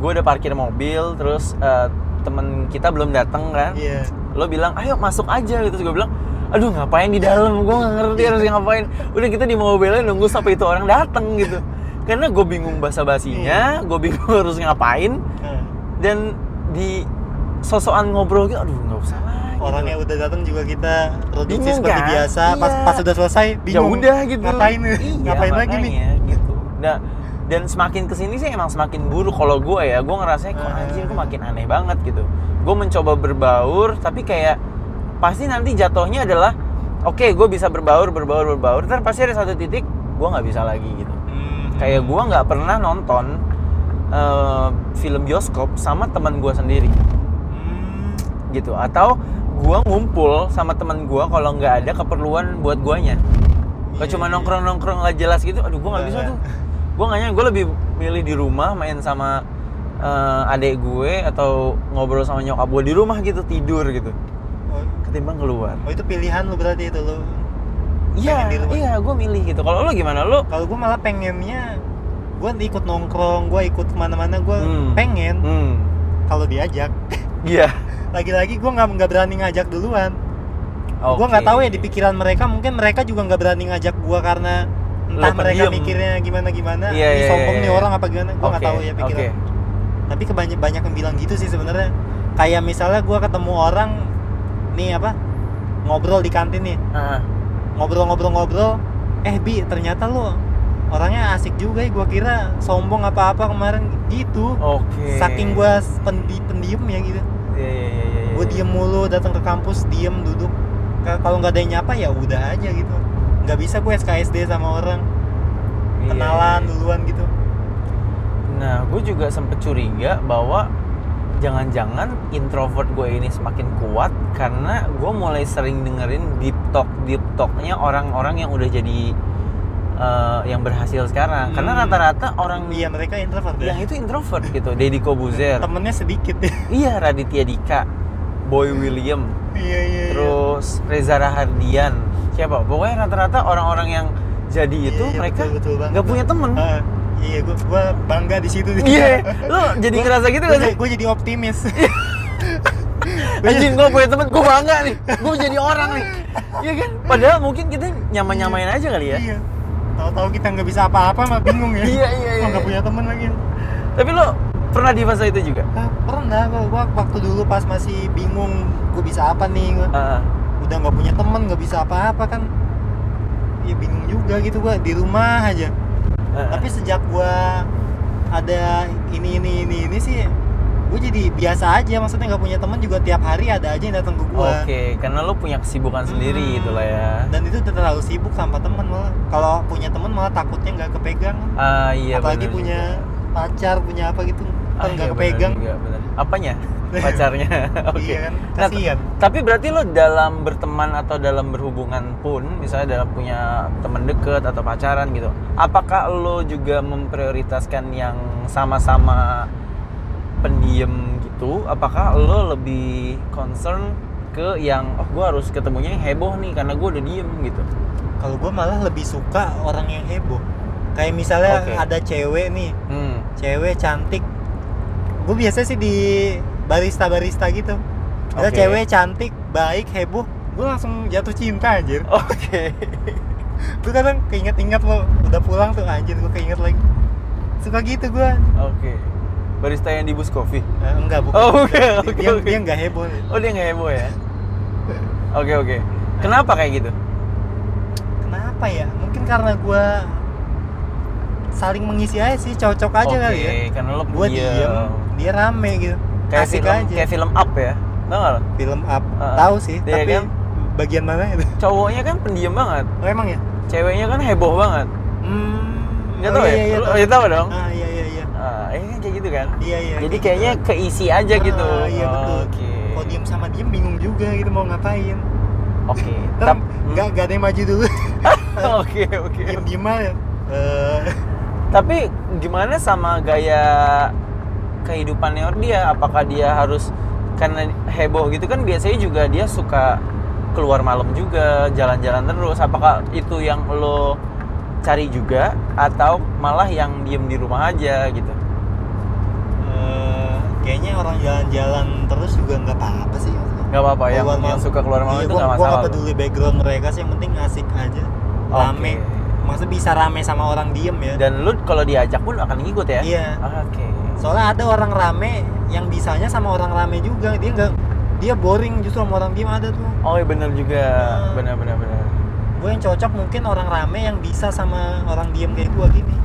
S1: gue udah parkir mobil terus eh, temen kita belum datang kan
S2: iya
S1: lo bilang ayo masuk aja gitu Terus gue bilang aduh ngapain di dalam gue nggak ngerti harus ngapain udah kita di mobilnya nunggu sampai itu orang datang gitu karena gue bingung bahasa basinya gue bingung harus ngapain
S2: Nah,
S1: dan di sosokan ngobrol gitu aduh nggak usah lah gitu.
S2: orang yang udah datang juga kita produksi
S1: Bingung
S2: seperti
S1: kan?
S2: biasa pas
S1: Iya.
S2: pas udah selesai
S1: ya
S2: bingung
S1: udah gitu
S2: ngapain
S1: Iya,
S2: ngapain lagi nih
S1: makanya, gitu nah dan semakin kesini sih emang semakin buruk kalau gue ya gue ngerasanya kok
S2: Ah.
S1: anjir gue makin aneh banget gitu gue mencoba berbaur tapi kayak pasti nanti jatuhnya adalah oke gue bisa berbaur berbaur berbaur ntar pasti ada satu titik gue nggak bisa lagi gitu
S2: Hmm.
S1: kayak gue nggak pernah nonton eh, film bioskop sama teman gue sendiri
S2: Hmm.
S1: gitu atau gua ngumpul sama teman gua kalau nggak ada keperluan buat guanya kalau
S2: Iya,
S1: cuma
S2: iya.
S1: nongkrong nongkrong nggak jelas gitu aduh gua nggak bisa
S2: Nggak,
S1: tuh gua nggak nyaman. gua lebih milih di rumah main sama eh, adik gue atau ngobrol sama nyokap gue di rumah gitu tidur gitu
S2: oh,
S1: ketimbang keluar
S2: oh, itu pilihan lu berarti itu lu
S1: iya
S2: di rumah.
S1: iya gua milih gitu kalau lo gimana lo
S2: kalau gue malah pengennya gue ikut nongkrong gue ikut kemana-mana gue
S1: Hmm.
S2: pengen
S1: hmm
S2: kalau diajak
S1: iya
S2: lagi-lagi gue nggak nggak berani ngajak duluan gue nggak
S1: Oke.
S2: tahu ya di pikiran mereka mungkin mereka juga nggak berani ngajak gue karena entah
S1: Lo
S2: mereka
S1: pendiam.
S2: mikirnya gimana gimana
S1: Iya,
S2: ini
S1: iya,
S2: sombong
S1: iya,
S2: nih
S1: iya.
S2: orang apa gimana gue nggak
S1: Oke,
S2: tahu ya pikiran
S1: oke.
S2: tapi kebanyak banyak yang bilang gitu sih sebenarnya kayak misalnya gue ketemu orang nih apa ngobrol di kantin nih
S1: Ah,
S2: ngobrol-ngobrol-ngobrol eh bi ternyata lo orangnya asik juga ya gue kira sombong apa-apa kemarin gitu
S1: oke
S2: saking gue pendi pendiam ya gitu
S1: Iya, iya, iya, iya, iya.
S2: gue diem mulu datang ke kampus diem duduk K- kalau nggak ada yang nyapa ya udah aja gitu nggak bisa gue SKSD sama orang
S1: Iya, iya.
S2: kenalan duluan gitu
S1: Nah, gue juga sempet curiga bahwa jangan-jangan introvert gue ini semakin kuat karena gue mulai sering dengerin deep talk deep talknya orang-orang yang udah jadi eh, yang berhasil sekarang. Karena
S2: Hmm.
S1: rata-rata orang
S2: iya mereka introvert
S1: yang
S2: ya
S1: itu introvert gitu, Deddy Kobuzer,
S2: temennya sedikit ya
S1: iya Raditya Dika, Boy William,
S2: iya iya iya.
S1: terus Reza Rahardian, siapa? Pokoknya rata-rata orang-orang yang jadi
S2: Iya,
S1: itu
S2: iya,
S1: mereka
S2: betul, betul banget.
S1: nggak punya temen.
S2: Ah, iya gue gue bangga di situ
S1: Iya, lo jadi ngerasa gitu gak sih?
S2: gue jadi optimis Iya.
S1: Anjing gue punya temen, gue bangga nih Gue jadi orang nih Iya kan? Padahal mungkin kita nyaman-nyamain aja kali ya
S2: Iya. Tahu-tahu kita nggak bisa apa-apa mah bingung ya.
S1: Iya, iya,
S2: Kok
S1: iya.
S2: nggak punya teman lagi.
S1: Tapi lo pernah di fase itu juga?
S2: Ah, pernah gua, gua waktu dulu pas masih bingung gue bisa apa nih gua.
S1: Heeh.
S2: udah nggak punya teman nggak bisa apa-apa kan ya bingung juga gitu gua di rumah aja
S1: Heeh.
S2: tapi sejak gua ada ini ini ini ini sih gue jadi biasa aja maksudnya nggak punya teman juga tiap hari ada aja yang datang ke
S1: Oke,
S2: gua
S1: karena lo punya kesibukan
S2: Hmm.
S1: sendiri itulah ya
S2: dan itu udah terlalu sibuk tanpa teman malah kalau punya teman malah takutnya nggak kepegang
S1: Ah iya
S2: apalagi
S1: bener
S2: punya
S1: juga.
S2: pacar punya apa gitu
S1: Ah, iya,
S2: ntar nggak
S1: bener
S2: kepegang
S1: juga, bener. Apanya? Pacarnya Oke
S2: iya kan
S1: Nah,
S2: kasihan
S1: Tapi berarti lo dalam berteman atau dalam berhubungan pun, misalnya dalam punya teman deket atau pacaran gitu, apakah lo juga memprioritaskan yang sama-sama pendiam gitu? Apakah lo lebih concern ke yang oh gue harus ketemunya yang heboh nih karena gue udah diem gitu?
S2: kalau gue malah lebih suka orang yang heboh kayak misalnya
S1: Oke.
S2: ada cewek nih
S1: Hmm.
S2: cewek cantik gue biasa sih di barista barista gitu ada
S1: Oke.
S2: cewek cantik baik heboh gue langsung jatuh cinta anjir
S1: Oke.
S2: gue kadang keinget-inget lo udah pulang tuh anjir gue keinget lagi suka gitu gue
S1: Oke. Barista yang di bus kopi.
S2: Eh, enggak bukan
S1: Oh, oke, oke,
S2: dia,
S1: oke.
S2: dia nggak heboh
S1: Oh dia nggak heboh ya? Oke oke. Kenapa kayak gitu?
S2: kenapa ya mungkin karena gua saling mengisi aja sih cocok aja
S1: Oke,
S2: kali ya
S1: karena lo
S2: gue diem dia rame gitu
S1: kayak
S2: asik
S1: film
S2: aja
S1: kayak film up ya tau gak lo?
S2: film up
S1: Heeh.
S2: tahu sih
S1: Iya
S2: tapi
S1: kan?
S2: bagian mana itu
S1: cowoknya kan pendiam banget
S2: oh, emang ya
S1: ceweknya kan heboh banget
S2: hmm
S1: nggak
S2: oh
S1: tau
S2: iya,
S1: ya
S2: iya,
S1: Lo-
S2: tahu.
S1: ya tau dong
S2: ah iya iya iya
S1: Ah, ini kan kayak gitu kan
S2: iya iya
S1: jadi kayaknya keisi aja
S2: Ah,
S1: gitu
S2: iya betul
S1: oke
S2: kalau diem sama diem bingung juga gitu mau ngapain
S1: oke
S2: Ntar
S1: Tap-
S2: nggak nggak ada yang maju dulu
S1: oke oke
S2: diem diem aja Eh,
S1: Tapi gimana sama gaya kehidupannya dia? Apakah dia harus karena heboh gitu kan biasanya juga dia suka keluar malam juga, jalan-jalan terus. Apakah itu yang lo cari juga atau malah yang diem di rumah aja gitu?
S2: eh, kayaknya orang jalan-jalan terus juga nggak apa-apa sih
S1: Gak apa-apa yang,
S2: Keluar
S1: yang
S2: malam.
S1: suka keluar malam
S2: Oh, Iya,
S1: itu
S2: gua-
S1: gak
S2: gua
S1: masalah.
S2: nggak
S1: lo?
S2: peduli background mereka sih yang penting asik aja
S1: Oke.
S2: rame maksudnya bisa rame sama orang diem ya
S1: Dan lu kalau diajak pun akan ngikut ya?
S2: iya
S1: Oke.
S2: soalnya ada orang rame yang bisanya sama orang rame juga dia nggak dia boring justru sama orang diem ada tuh
S1: Oh iya bener juga,
S2: Nah.
S1: bener bener bener.
S2: gue yang cocok mungkin orang rame yang bisa sama orang diem kayak gue gini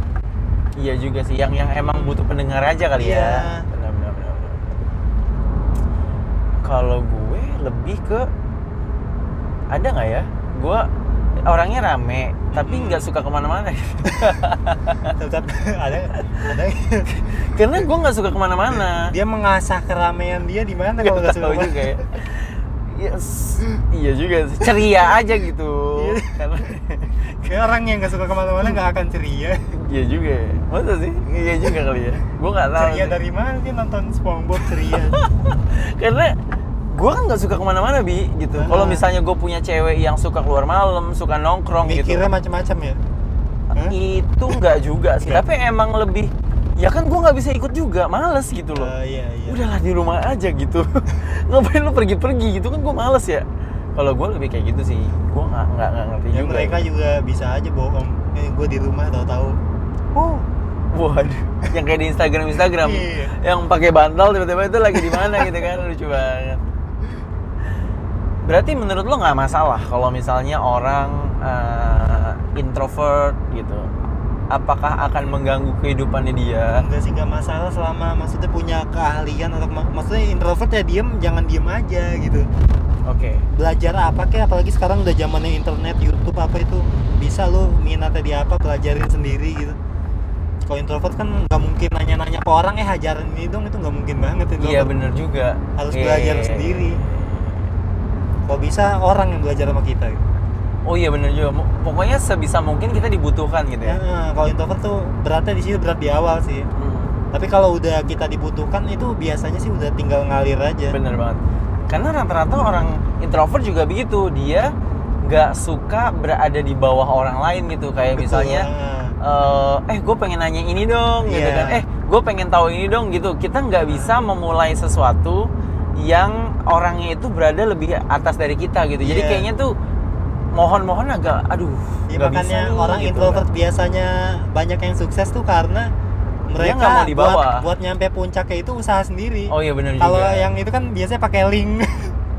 S1: Iya juga sih, yang yang emang butuh pendengar aja kali
S2: Iya.
S1: ya. Benar benar benar. benar. Kalau gue lebih ke ada nggak ya? Gue orangnya rame, tapi
S2: Mm-mm.
S1: nggak suka kemana-mana.
S2: tetap ada ada
S1: Karena gue nggak suka kemana-mana.
S2: dia mengasah keramaian dia di mana kalau nggak
S1: tahu
S2: suka
S1: juga ya. Yes. iya juga sih. Ceria aja gitu.
S2: Iya.
S1: Karena
S2: Kayak orang yang nggak suka kemana-mana nggak akan ceria
S1: iya juga ya. Masa sih? Iya juga kali ya. Gue nggak tahu.
S2: ceria
S1: sih.
S2: dari mana dia nonton SpongeBob ceria
S1: karena gue kan nggak suka kemana-mana bi gitu
S2: Ah.
S1: kalau misalnya gue punya cewek yang suka keluar malam suka nongkrong
S2: mikirnya macam-macam ya Hah?
S1: gitu itu nggak juga sih
S2: Nggak.
S1: tapi emang lebih ya kan gue nggak bisa ikut juga males gitu loh
S2: Eh, iya iya
S1: udahlah di rumah aja gitu ngapain lu pergi-pergi gitu kan gue males ya kalau gue lebih kayak gitu sih gue nggak nggak nggak ngerti
S2: ya
S1: juga
S2: mereka juga bisa aja bohong eh, gue di rumah tahu-tahu oh
S1: waduh yang kayak di Instagram Instagram
S2: Iya.
S1: yang pakai bantal tiba-tiba itu lagi di mana gitu kan lucu banget berarti menurut lo nggak masalah kalau misalnya orang eh, introvert gitu apakah akan mengganggu kehidupannya dia
S2: enggak sih nggak masalah selama maksudnya punya keahlian atau kema- maksudnya introvert ya diem jangan diem aja gitu
S1: oke
S2: belajar apa kek apalagi sekarang udah zamannya internet YouTube apa itu bisa lo minatnya di apa pelajarin sendiri gitu kalau introvert kan nggak mungkin nanya-nanya ke orang eh hajarin ini dong itu nggak mungkin banget introvert
S1: iya bener juga Iya.
S2: Harus
S1: Oke.
S2: belajar sendiri. kalau bisa orang yang belajar sama kita gitu.
S1: oh iya bener juga Mo- pokoknya sebisa mungkin kita dibutuhkan gitu ya
S2: Nah, kalau introvert tuh beratnya di situ berat di awal sih
S1: Hmm.
S2: tapi kalau udah kita dibutuhkan itu biasanya sih udah tinggal ngalir
S1: Iya,
S2: aja
S1: Bener banget. Karena rata-rata orang introvert juga begitu, dia nggak suka berada di bawah orang lain gitu. Kayak
S2: Betul.
S1: misalnya,
S2: Ah.
S1: eh, eh gue pengen nanya ini dong, gitu
S2: Iya.
S1: kan. Eh gue pengen tahu ini dong, gitu. Kita nggak bisa memulai sesuatu yang orangnya itu berada lebih atas dari kita gitu. Jadi
S2: Iya.
S1: kayaknya tuh mohon-mohon agak, aduh,
S2: Ya,
S1: nggak
S2: makanya
S1: bisa nih,
S2: orang
S1: gitu.
S2: introvert biasanya banyak yang sukses tuh karena mereka
S1: nggak mau dibawa.
S2: buat, buat nyampe puncaknya itu usaha sendiri.
S1: Oh iya benar juga.
S2: Kalau yang itu kan biasanya pakai link.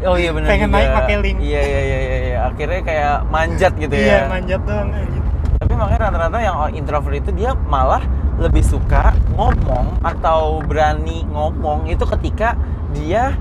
S1: oh iya benar
S2: pengen
S1: juga.
S2: naik pakai link.
S1: Iya iya iya iya, iya. Akhirnya kayak manjat gitu ya.
S2: Iya, manjat doang anjing.
S1: tapi makanya rata-rata yang introvert itu dia malah lebih suka ngomong atau berani ngomong itu ketika dia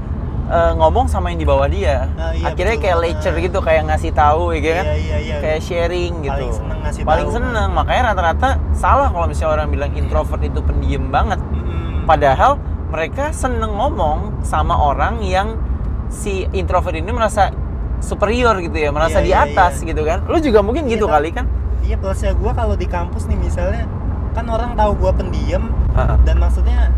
S1: eh, ngomong sama yang di bawah dia
S2: Ah, iya,
S1: akhirnya
S2: betul.
S1: kayak lecture gitu kayak ngasih tahu ya kan
S2: Iya, iya, iya.
S1: kayak sharing gitu
S2: Paling seneng ngasih
S1: Paling
S2: tahu.
S1: seneng. makanya rata-rata salah kalau misalnya orang bilang introvert itu pendiam banget
S2: Mm-mm.
S1: padahal mereka seneng ngomong sama orang yang si introvert ini merasa superior gitu ya merasa
S2: Iya,
S1: di
S2: iya,
S1: atas
S2: iya.
S1: gitu kan lu juga mungkin gitu
S2: Iya,
S1: kali kan
S2: Iya, plusnya gua kalau di kampus nih misalnya kan orang tahu gua pendiam
S1: Heeh.
S2: dan maksudnya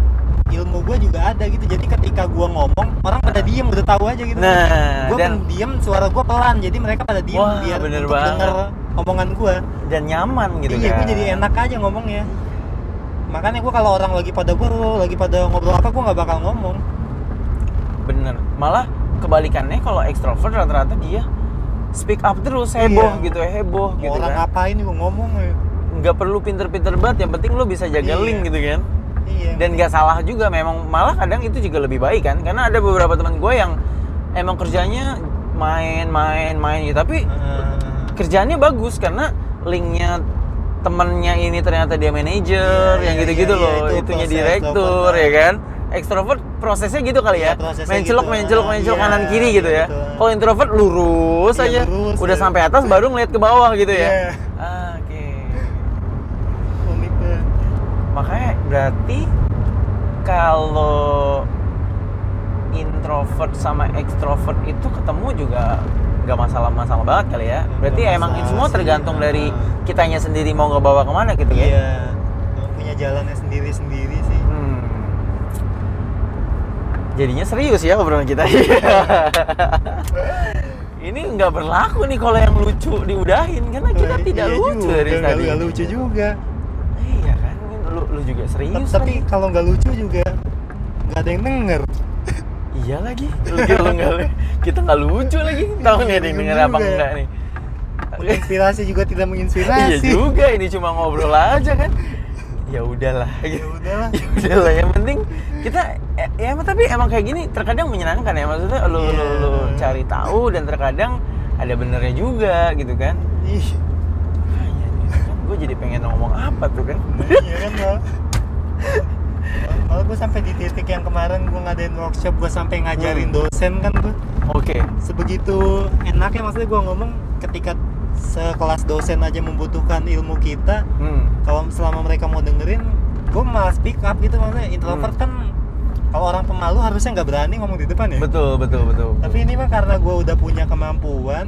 S2: ilmu gua juga ada gitu. Jadi ketika gua ngomong, orang pada diem udah tahu aja gitu.
S1: Nah,
S2: gua
S1: dan
S2: pendiam, suara gua pelan. Jadi mereka pada diem
S1: Wah,
S2: biar
S1: bener
S2: untuk
S1: banget.
S2: denger omongan gua.
S1: dan nyaman gitu
S2: iya,
S1: kan.
S2: gue jadi enak aja ngomongnya. Makanya gue kalau orang lagi pada gue, lagi pada ngobrol apa, gue nggak bakal ngomong.
S1: Bener. Malah kebalikannya kalau ekstrovert rata-rata dia speak up terus heboh
S2: Iya.
S1: gitu ya heboh
S2: Mau
S1: gitu
S2: orang
S1: kan.
S2: ngapain gue ngomong ya.
S1: Nggak perlu pinter-pinter banget, yang penting lu bisa jaga
S2: Iya.
S1: link gitu kan.
S2: Iya.
S1: Dan nggak salah juga memang malah kadang itu juga lebih baik kan karena ada beberapa teman gue yang emang kerjanya main-main main gitu tapi
S2: Ah,
S1: kerjaannya bagus karena linknya temennya ini ternyata dia manajer
S2: Iya,
S1: yang
S2: iya,
S1: gitu-gitu
S2: iya,
S1: loh
S2: iya, itu
S1: itunya
S2: proses
S1: direktur
S2: extrovert.
S1: ya kan ekstrovert prosesnya gitu kali ya,
S2: Iya, prosesnya
S1: main celok
S2: gitu.
S1: main celok main celok
S2: Iya,
S1: kanan kiri gitu ya
S2: betul.
S1: kalau introvert lurus
S2: Iya,
S1: aja
S2: lurus,
S1: udah
S2: ya.
S1: sampai atas baru ngeliat ke bawah gitu
S2: Iya.
S1: ya Ah, oke
S2: unik deh.
S1: makanya berarti kalau introvert sama ekstrovert itu ketemu juga nggak masalah-masalah banget kali ya berarti
S2: Nggak
S1: emang itu
S2: masalah
S1: semua
S2: sih,
S1: tergantung
S2: ya.
S1: dari kitanya sendiri mau ngebawa kemana gitu ya
S2: iya punya jalannya sendiri sendiri sih
S1: Hmm. Jadinya serius ya obrolan kita. Ini nggak berlaku nih kalau yang lucu diudahin karena Kan kita
S2: Eh,
S1: tidak
S2: iya
S1: lucu
S2: juga,
S1: dari
S2: nggak-
S1: tadi.
S2: nggak lucu juga
S1: Iya kan, Ini lu, lu juga serius. kan?
S2: tapi
S1: lagi.
S2: kalau nggak lucu juga nggak ada yang denger
S1: iya lagi. Lu lu nggak kita nggak lucu lagi. Tahu nih ada yang denger apa
S2: Iya Juga. ya. Nah,
S1: enggak nih.
S2: inspirasi juga tidak menginspirasi
S1: iya juga ini cuma ngobrol aja kan. Ya udahlah
S2: ya
S1: gitu.
S2: udahlah
S1: ya udah lah yang penting kita eh, ya emang- tapi emang kayak gini terkadang menyenangkan ya maksudnya lu lu,
S2: Iya.
S1: lu cari tahu dan terkadang ada benernya juga gitu kan
S2: ih
S1: gue jadi pengen ngomong apa tuh kan
S2: iya kan lo kalau gue sampai di titik yang kemarin gue ngadain workshop gue sampai ngajarin
S1: Hmm.
S2: dosen kan tuh
S1: oke
S2: sebegitu enaknya maksudnya gue ngomong ketika sekelas dosen aja membutuhkan ilmu kita
S1: hmm.
S2: kalau selama mereka mau dengerin gue malah speak up gitu maksudnya introvert kan kalau orang pemalu harusnya nggak berani ngomong di depan ya
S1: betul betul betul
S2: tapi ini mah karena gue udah punya kemampuan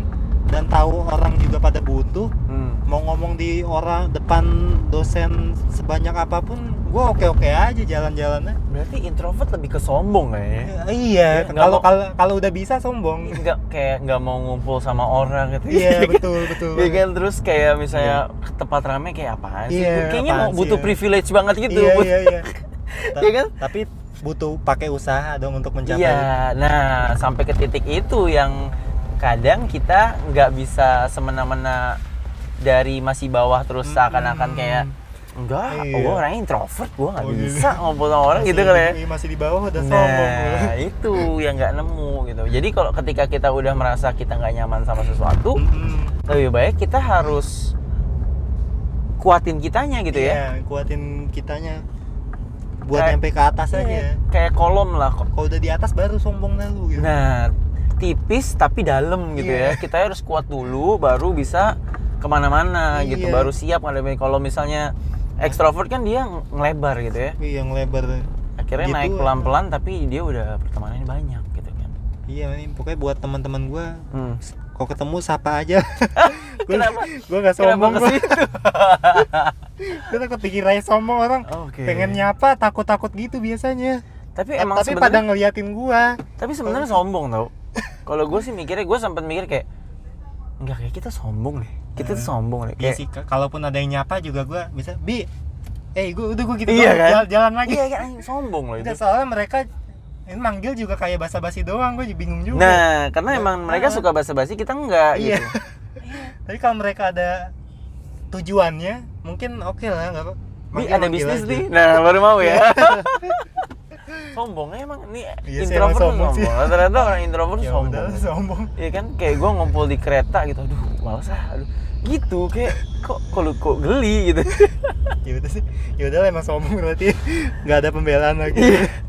S2: dan tahu orang juga pada butuh
S1: hmm.
S2: mau ngomong di orang depan dosen sebanyak apapun gue oke oke aja jalan-jalannya
S1: berarti introvert lebih ke sombong kayaknya
S2: Eh, iya
S1: Nggak
S2: kalau
S1: mau-
S2: kalau kalau udah bisa sombong
S1: nggak kayak nggak mau ngumpul sama orang gitu
S2: iya betul betul
S1: Iya kan terus kayak misalnya ke tempat rame kayak apaan sih?
S2: Iya,
S1: Gua Kayaknya
S2: apaan
S1: mau
S2: sih,
S1: butuh
S2: ya?
S1: privilege banget gitu.
S2: iya
S1: butuh-
S2: iya iya Ta-
S1: Iya kan?
S2: tapi butuh pakai usaha dong untuk mencapai
S1: Iya, nah sampai ke titik itu yang kadang kita nggak bisa semena-mena dari masih bawah terus
S2: Mm-mm.
S1: seakan-akan kayak enggak,
S2: Hmm. Iya.
S1: gue orang introvert, gue nggak
S2: Oh, gitu.
S1: bisa ngobrol sama orang
S2: Masih
S1: gitu kali ya.
S2: di- Iya, masih di bawah udah sombong gua.
S1: Nah itu yang nggak nemu gitu. Jadi kalau ketika kita udah merasa kita nggak nyaman sama sesuatu,
S2: Mm-mm.
S1: lebih baik kita harus kuatin kitanya gitu ya.
S2: Iya, kuatin kitanya buat
S1: Kayak-
S2: nyampe ke atas aja ya.
S1: Iya, Kayak kolom lah, kok.
S2: kalau udah di atas baru sombong dah lu gitu
S1: Nah, tipis tapi dalam gitu
S2: Iya.
S1: ya. Kita harus kuat dulu, baru bisa kemana-mana gitu.
S2: Iya.
S1: Baru siap ngadepin. Kalau misalnya ekstrovert kan dia ng- ngelebar gitu ya.
S2: Iya, yang lebar
S1: Akhirnya
S2: Gitu,
S1: naik
S2: apa?
S1: pelan-pelan, tapi dia udah pertemanannya banyak gitu kan.
S2: Iya, ini pokoknya buat teman-teman gua
S1: Hmm.
S2: kok ketemu sapa aja. gua,
S1: Kenapa?
S2: Gua
S1: Kenapa
S2: gak sombong
S1: ke
S2: gua.
S1: situ?
S2: Gua takut dikirain sombong orang.
S1: Oh, Oke.
S2: Pengen nyapa takut-takut gitu biasanya.
S1: Tapi
S2: Ta-
S1: emang
S2: Eh, Tapi
S1: sebenarnya-
S2: pada ngeliatin gua.
S1: tapi sebenarnya sombong tau kalau gue sih mikirnya gue sempat mikir kayak nggak kayak kita sombong deh kita tuh sombong deh
S2: Iya
S1: kayak
S2: sih, ka- kalaupun ada yang nyapa juga gua bisa, "Bi, eh gua udah gua gitu
S1: Iya
S2: doang,
S1: kan?
S2: jalan, jalan lagi."
S1: iya kan anjing, sombong loh itu
S2: Udah soalnya mereka ini manggil juga kayak basa-basi doang, gua juga bingung juga.
S1: nah karena emang mereka
S2: Ah.
S1: suka basa-basi kita nggak
S2: Iya.
S1: gitu
S2: Tapi kalau mereka ada tujuannya, mungkin oke lah, enggak apa.
S1: Bi,
S2: Manggil-
S1: ada
S2: manggil
S1: bisnis
S2: aja.
S1: nih nah baru mau ya sombongnya emang nih
S2: Iya sih,
S1: introvert
S2: emang
S1: tuh sombong,
S2: sombong sih.
S1: rata-rata orang introvert tuh
S2: Ya
S1: sombong
S2: udah sombong.
S1: Iya kan kayak gue ngumpul di kereta gitu aduh males ah aduh gitu kayak kok kok lu- kok geli gitu
S2: ya udah sih ya udah lah, emang sombong berarti nggak ada pembelaan lagi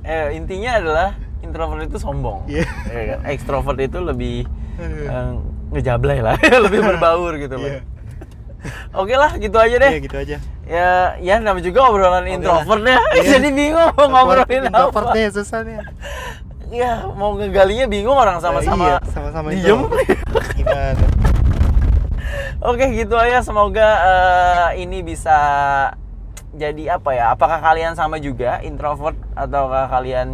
S1: eh, intinya adalah introvert itu sombong
S2: Iya.
S1: ya kan? ekstrovert itu lebih
S2: Aduh.
S1: eh, ngejablay lah lebih berbaur gitu loh
S2: Iya.
S1: oke lah gitu aja
S2: Iya,
S1: deh
S2: gitu aja
S1: ya ya namanya juga obrolan
S2: Oke
S1: introvert ya
S2: Iya.
S1: jadi bingung mau ngobrolin
S2: introvert
S1: apa
S2: deh susah nih
S1: ya mau ngegalinya bingung orang sama-sama
S2: Iya, sama-sama
S1: diem
S2: introvert. gimana
S1: Oke gitu aja semoga eh, ini bisa jadi apa ya? Apakah kalian sama juga introvert ataukah kalian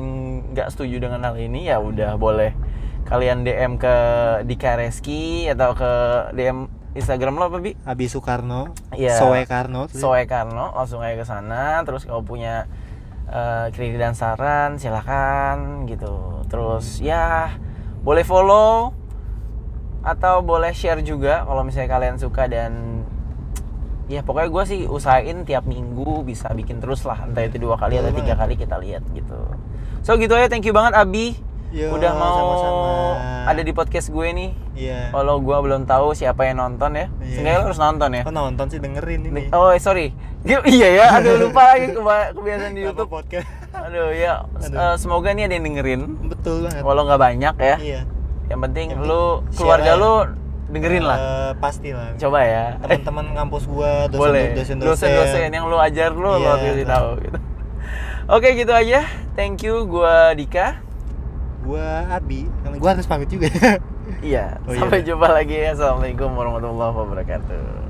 S1: nggak setuju dengan hal ini? Ya udah boleh kalian DM ke Dika Reski atau ke DM Instagram lo apa Bi?
S2: Abi Soekarno
S1: Iya.
S2: Soe Karno tuh.
S1: Soe Karno langsung aja ke sana terus kalau punya eh, kritik dan saran silakan gitu terus ya boleh follow atau boleh share juga kalau misalnya kalian suka dan ya pokoknya gue sih usahain tiap minggu bisa bikin terus lah entah itu dua kali atau
S2: Boleh
S1: tiga
S2: banget.
S1: kali kita lihat gitu so gitu aja thank you banget Abi
S2: Yo,
S1: udah mau
S2: sama-sama.
S1: ada ada di podcast gue nih.
S2: Iya.
S1: Kalau gue belum tahu siapa yang nonton ya,
S2: Iya.
S1: seenggaknya lo harus nonton ya.
S2: Kok nonton sih dengerin ini.
S1: Oh sorry, Gim- iya ya, aduh lupa lagi keba- kebiasaan di
S2: Kenapa
S1: YouTube.
S2: podcast.
S1: Aduh ya, s-
S2: Aduh.
S1: eh, semoga nih ada yang dengerin.
S2: Betul banget.
S1: Walau nggak banyak ya,
S2: Iya.
S1: yang penting
S2: Yang
S1: lu
S2: penting
S1: keluarga
S2: share aja.
S1: lu dengerin lah.
S2: Eh, pasti lah.
S1: Coba ya.
S2: Teman-teman kampus gua dosen
S1: Boleh.
S2: dosen
S1: Dosen-dosen yang lu ajar lu lo
S2: Iya,
S1: kasih
S2: betul.
S1: tahu gitu. Oke gitu aja. Thank you gua Dika.
S2: Gua Abi, karena gua harus pamit juga.
S1: Iya,
S2: Oh, iya.
S1: sampai jumpa lagi. Assalamualaikum warahmatullahi wabarakatuh.